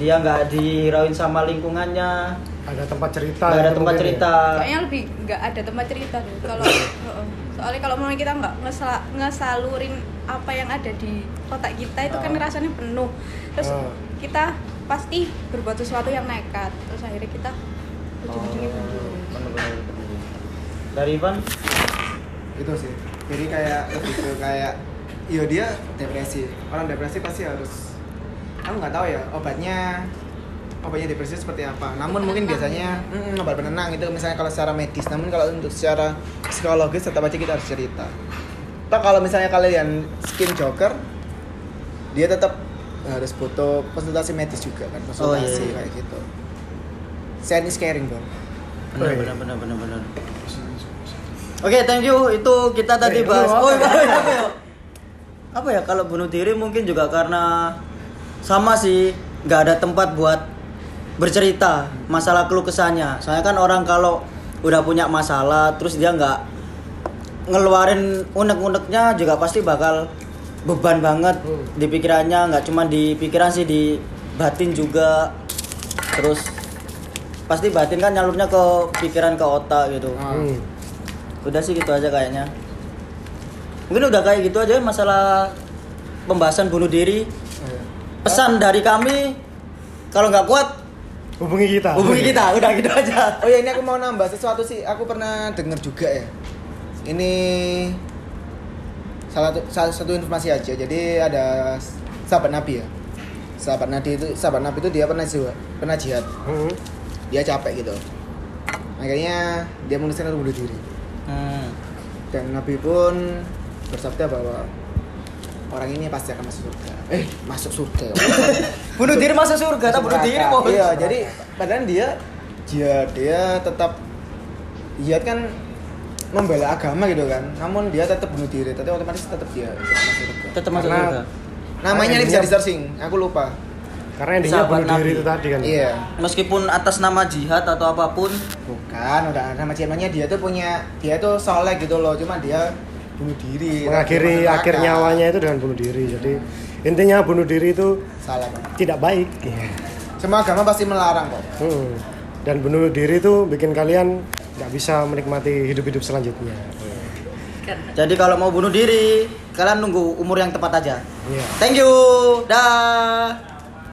Speaker 2: dia nggak dirauin sama lingkungannya,
Speaker 3: ada tempat cerita.
Speaker 2: nggak ada
Speaker 3: gitu
Speaker 2: tempat
Speaker 3: mungkin ya.
Speaker 2: cerita.
Speaker 5: kayaknya lebih nggak ada tempat cerita deh kalau Heeh. soalnya kalau mau kita nggak ngesel- ngesalurin apa yang ada di otak kita itu kan
Speaker 2: Ah.
Speaker 5: rasanya penuh terus
Speaker 3: Ah.
Speaker 5: kita pasti berbuat sesuatu yang nekat terus akhirnya kita ujung-ujungnya bunuh diri.
Speaker 2: Dari Ivan?
Speaker 1: Itu sih. Jadi kayak lebih ke kayak iya dia depresi. Orang depresi pasti harus aku nggak tahu ya obatnya obatnya depresi seperti apa. Namun mungkin biasanya mm, obat penenang itu misalnya kalau secara medis, namun kalau untuk secara psikologis tetap aja kita harus cerita. Pak kalau misalnya kalian skin joker, dia tetap harus butuh konsultasi medis juga kan, konsultasi
Speaker 2: iya.
Speaker 1: kayak gitu. Sen is caring dong.
Speaker 2: Benar, benar, benar, benar, benar. Oke, thank you. Itu kita tadi
Speaker 3: Eh,
Speaker 2: bahas.
Speaker 3: lu apa?
Speaker 2: Oh, iya, apa, ya? Apa ya kalau bunuh diri mungkin juga karena sama sih, nggak ada tempat buat bercerita masalah keluh kesahnya. Soalnya kan orang kalau udah punya masalah, terus dia nggak ngeluarin unek-uneknya juga pasti bakal beban banget di pikirannya. Nggak cuma di pikiran sih, di batin juga. Terus pasti batin kan nyalurnya ke pikiran ke otak gitu.
Speaker 3: Hmm.
Speaker 2: Udah sih gitu aja kayaknya. Mungkin udah kayak gitu aja ya masalah pembahasan bunuh diri.
Speaker 3: Eh,
Speaker 2: Pesan dari kami kalau nggak kuat
Speaker 3: Hubungi kita.
Speaker 2: hubungi kita. Udah gitu aja.
Speaker 1: Oh ya ini aku mau nambah sesuatu sih. Aku pernah dengar juga ya. Ini salah satu salah satu informasi aja. Jadi ada sahabat Nabi ya. sahabat Nabi itu sahabat Nabi itu dia pernah jiwa, pernah jihad
Speaker 3: Hmm.
Speaker 1: dia capek gitu akhirnya dia menuliskan untuk bunuh diri
Speaker 2: Hmm.
Speaker 1: dan Nabi pun bersabda bahwa orang ini pasti akan masuk surga eh masuk surga
Speaker 2: Bunuh diri masuk surga, tak bunuh diri mau.
Speaker 1: iya jadi padahal dia dia dia tetap jihad kan membela agama gitu kan namun dia tetap bunuh diri tapi otomatis tetap dia masuk surga
Speaker 2: tetap masuk surga.
Speaker 3: Karena-
Speaker 1: namanya ini bisa di searching aku lupa
Speaker 3: Karena endingnya
Speaker 2: Sahabat
Speaker 3: bunuh diri
Speaker 2: Nabi.
Speaker 3: itu tadi kan.
Speaker 1: iya
Speaker 2: Meskipun atas nama jihad atau apapun,
Speaker 1: bukan udah ada nama channelnya dia tuh punya dia tuh soleh gitu loh cuma dia bunuh diri
Speaker 3: Mengakhiri
Speaker 1: Masuk neraka.
Speaker 3: akhir nyawanya itu dengan bunuh diri. Jadi intinya bunuh diri itu
Speaker 1: salah Bang.
Speaker 3: tidak baik.
Speaker 2: Iya.
Speaker 1: semua agama pasti melarang kok
Speaker 3: Hmm. Dan bunuh diri itu bikin kalian nggak bisa menikmati hidup-hidup selanjutnya.
Speaker 2: Iya.
Speaker 6: kan?
Speaker 2: jadi kalau mau bunuh diri, kalian nunggu umur yang tepat aja.
Speaker 3: Iya.
Speaker 2: Thank you. Dah.